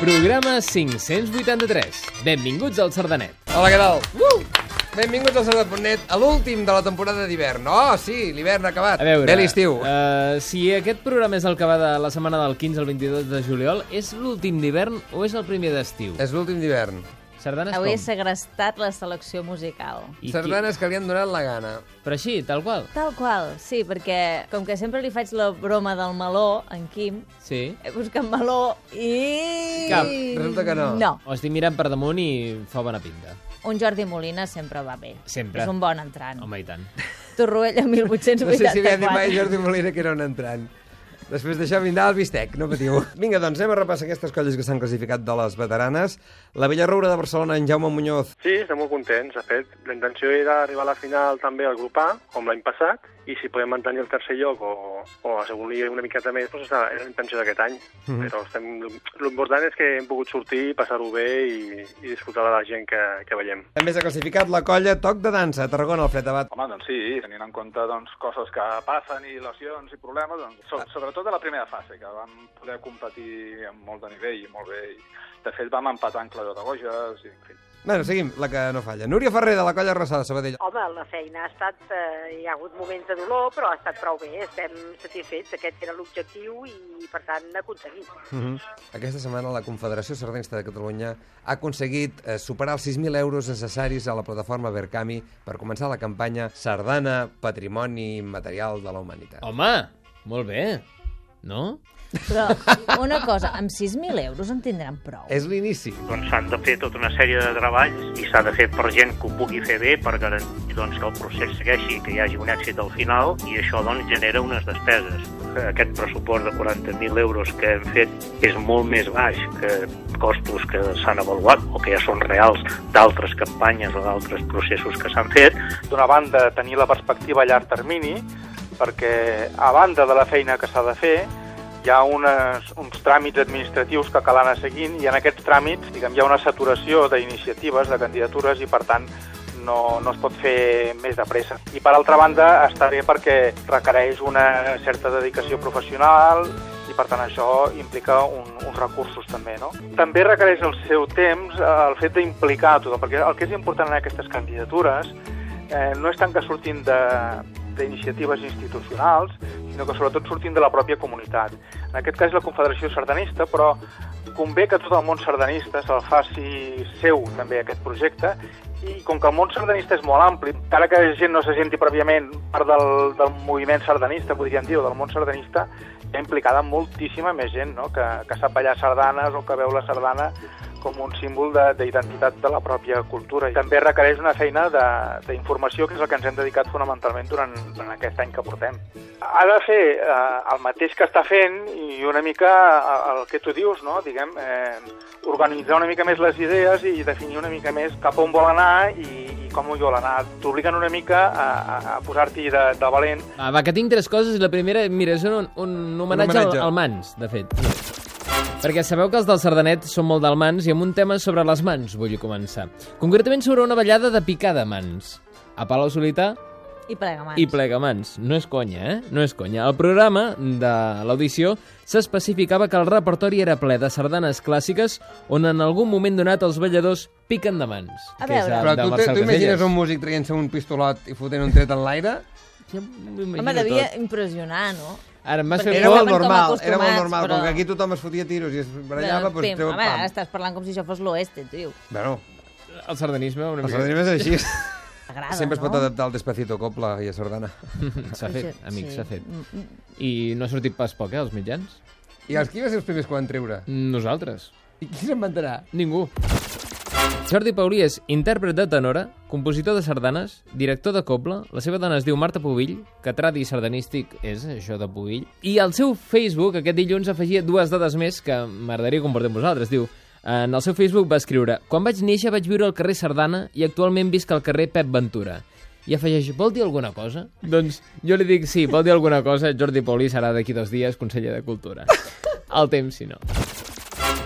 Programa 583. Benvinguts al Sardanet. Hola, què tal? Uh! Benvinguts al Sardanet, a l'últim de la temporada d'hivern. Oh, sí, l'hivern ha acabat. A veure, Bé l'estiu. Uh... eh, si aquest programa és el que va de la setmana del 15 al 22 de juliol, és l'últim d'hivern o és el primer d'estiu? És l'últim d'hivern. Sardanes Doncs Avui he com? segrestat la selecció musical. I qui- Sardanes que li han donat la gana. Però així, tal qual. Tal qual, sí, perquè com que sempre li faig la broma del meló, en Quim, Sí. he buscat meló i... Cap. Resulta que no. No, O estic mirant per damunt i fa bona pinta. un Jordi Molina sempre va bé. Sempre. És un bon entrant. Home, i tant. Torroella No sé 1884. si li ha dit mai Jordi Molina que era un entrant. Després d'això vindrà el bistec, no patiu. Vinga, doncs anem a repassar aquestes colles que s'han classificat de les veteranes. La Villarroura de Barcelona, en Jaume Muñoz. Sí, estem molt contents. De fet, la intenció era arribar a la final també al grup A, com l'any passat, i si podem mantenir el tercer lloc o, o assegurir una miqueta més, doncs era era la intenció d'aquest any. Mm -hmm. Però estem... l'important és que hem pogut sortir, passar-ho bé i, i disfrutar de la gent que, que veiem. També s'ha classificat la colla Toc de Dansa, a Tarragona, Alfred Abat. Home, doncs sí, tenint en compte doncs, coses que passen i lesions i problemes, doncs, Ah. so, sobretot a la primera fase, que vam poder competir amb molt de nivell i molt bé. I, de fet, vam empatar en Claudio de Goges i, en fi, Bueno, seguim, la que no falla. Núria Ferrer, de la colla Rossà de Sabadell. Home, la feina ha estat... Eh, hi ha hagut moments de dolor, però ha estat prou bé. Estem satisfets. Aquest era l'objectiu i, per tant, aconseguit. Mm -hmm. Aquesta setmana la Confederació Sardanista de Catalunya ha aconseguit eh, superar els 6.000 euros necessaris a la plataforma Verkami per començar la campanya Sardana, Patrimoni Material de la Humanitat. Oh. Home, molt bé. No? Però una cosa, amb 6.000 euros en tindran prou. És l'inici. doncs s'han de fer tota una sèrie de treballs i s'ha de fer per gent que ho pugui fer bé per garantir doncs, que el procés segueixi, que hi hagi un èxit al final i això doncs, genera unes despeses. Aquest pressupost de 40.000 euros que hem fet és molt més baix que costos que s'han avaluat o que ja són reals d'altres campanyes o d'altres processos que s'han fet, d'una banda tenir la perspectiva a llarg termini, perquè a banda de la feina que s'ha de fer, hi ha unes, uns tràmits administratius que cal anar seguint i en aquests tràmits diguem, hi ha una saturació d'iniciatives, de candidatures i per tant no, no es pot fer més de pressa. I per altra banda està bé perquè requereix una certa dedicació professional i per tant això implica un, uns recursos també, no? També requereix el seu temps eh, el fet d'implicar a tothom, perquè el que és important en aquestes candidatures eh, no és tant que surtin de- d'iniciatives institucionals, sinó que sobretot surtin de la pròpia comunitat. En aquest cas és la Confederació Sardanista, però convé que tot el món sardanista se'l faci seu també aquest projecte i com que el món sardanista és molt ampli, encara que gent no se senti prèviament part del, del moviment sardanista, podríem dir, o del món sardanista, hi ha implicada moltíssima més gent no? que, que sap ballar sardanes o que veu la sardana com un símbol de- d'identitat de, de la pròpia cultura. I també requereix una feina de- d'informació, que és el que ens hem dedicat fonamentalment durant, durant aquest any que portem. Ha de fer eh, el mateix que està fent i una mica eh, el que tu dius, no? diguem, eh, organitzar una mica més les idees i definir una mica més cap a on vol anar i, i com ho vol anar. T'obliguen una mica a, a, a posar-t'hi de, de valent Ah, va, que tinc tres coses i la primera, mira, és un, un, un homenatge, un homenatge. homenatge. Al, al Mans, de fet. No. Perquè sabeu que els del Sardanet són molt del Mans i amb un tema sobre les mans vull començar. Concretament sobre una ballada de picar de mans. A Palau Solità I plega mans. i Plegamans. No és conya, eh? No és conya. Al programa de l'audició s'especificava que el repertori era ple de sardanes clàssiques on en algun moment donat els balladors piquen de mans. A que és veure. el Però de tu, Marcel tu, tu imagines Casellas. un músic traient-se un pistolot i fotent un tret en l'aire? Ja m'ho imagino Home, devia tot. impressionar, no? Ara m'has fet Perquè Era no por... molt estaven com normal, era molt acostumats, normal. Però... però- Com que aquí tothom es fotia tiros i es barallava, doncs pim. treu Home, ara pam. estàs parlant com si això fos l'oeste, tio. Bueno, El sardanisme... Una el mica- sardanisme és així. T'agrada, Sempre es pot no? adaptar al despacito copla i a sardana. S'ha fet, amic, Sí. s'ha fet. Mm, mm. I no ha sortit pas poc, eh, als mitjans? I els qui va ser els primers que ho van treure? Nosaltres. I qui se'n va enterar? Ningú. Jordi Paulí és intèrpret de tenora, compositor de sardanes, director de cobla, la seva dona es diu Marta Pubill, que tradi sardanístic és això de Pubill, i al seu Facebook aquest dilluns afegia dues dades més que m'agradaria compartir amb vosaltres. Diu, en el seu Facebook va escriure Quan vaig néixer vaig viure al carrer Sardana i actualment visc al carrer Pep Ventura. I afegeix, vol dir alguna cosa? Doncs jo li dic, sí, vol dir alguna cosa, Jordi Paulí serà d'aquí dos dies conseller de Cultura. El temps, si no.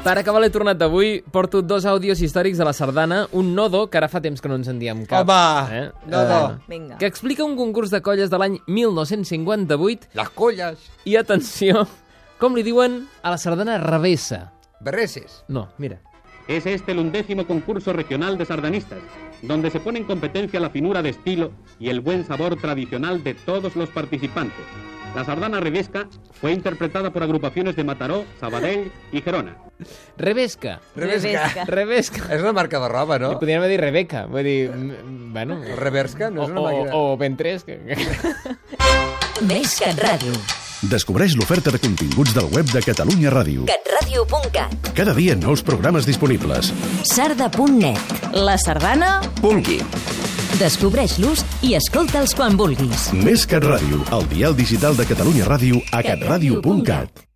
Per acabar l'he tornat d'avui, porto dos àudios històrics de la sardana, un nodo, que ara fa temps que no ens en diem cap. eh? Home, nodo. Vinga. Que explica un concurs de colles de l'any 1958 Les colles! i, atenció, com li diuen a la sardana revessa. Berreses. No, mira. Es este el undécimo concurso regional de sardanistas, donde se pone en competencia la finura de estilo y el buen sabor tradicional de todos los participantes. La sardana revesca fue interpretada por agrupaciones de Mataró, Sabadell y Gerona. Revesca. Revesca. Revesca. És una marca de roba, no? Li podríem dir Rebeca. Vull dir, mm, bueno... Reversca, no O, és una o, màquina... o Ventres. que- Més que ràdio. Descobreix l'oferta de continguts del web de Catalunya Ràdio. catradio.cat Cada dia nous programes disponibles. sarda.net La sardana Pungui. Descobreix-los i escolta'ls quan vulguis. Més Cat Ràdio, el dial digital de Catalunya Ràdio a catradio.cat.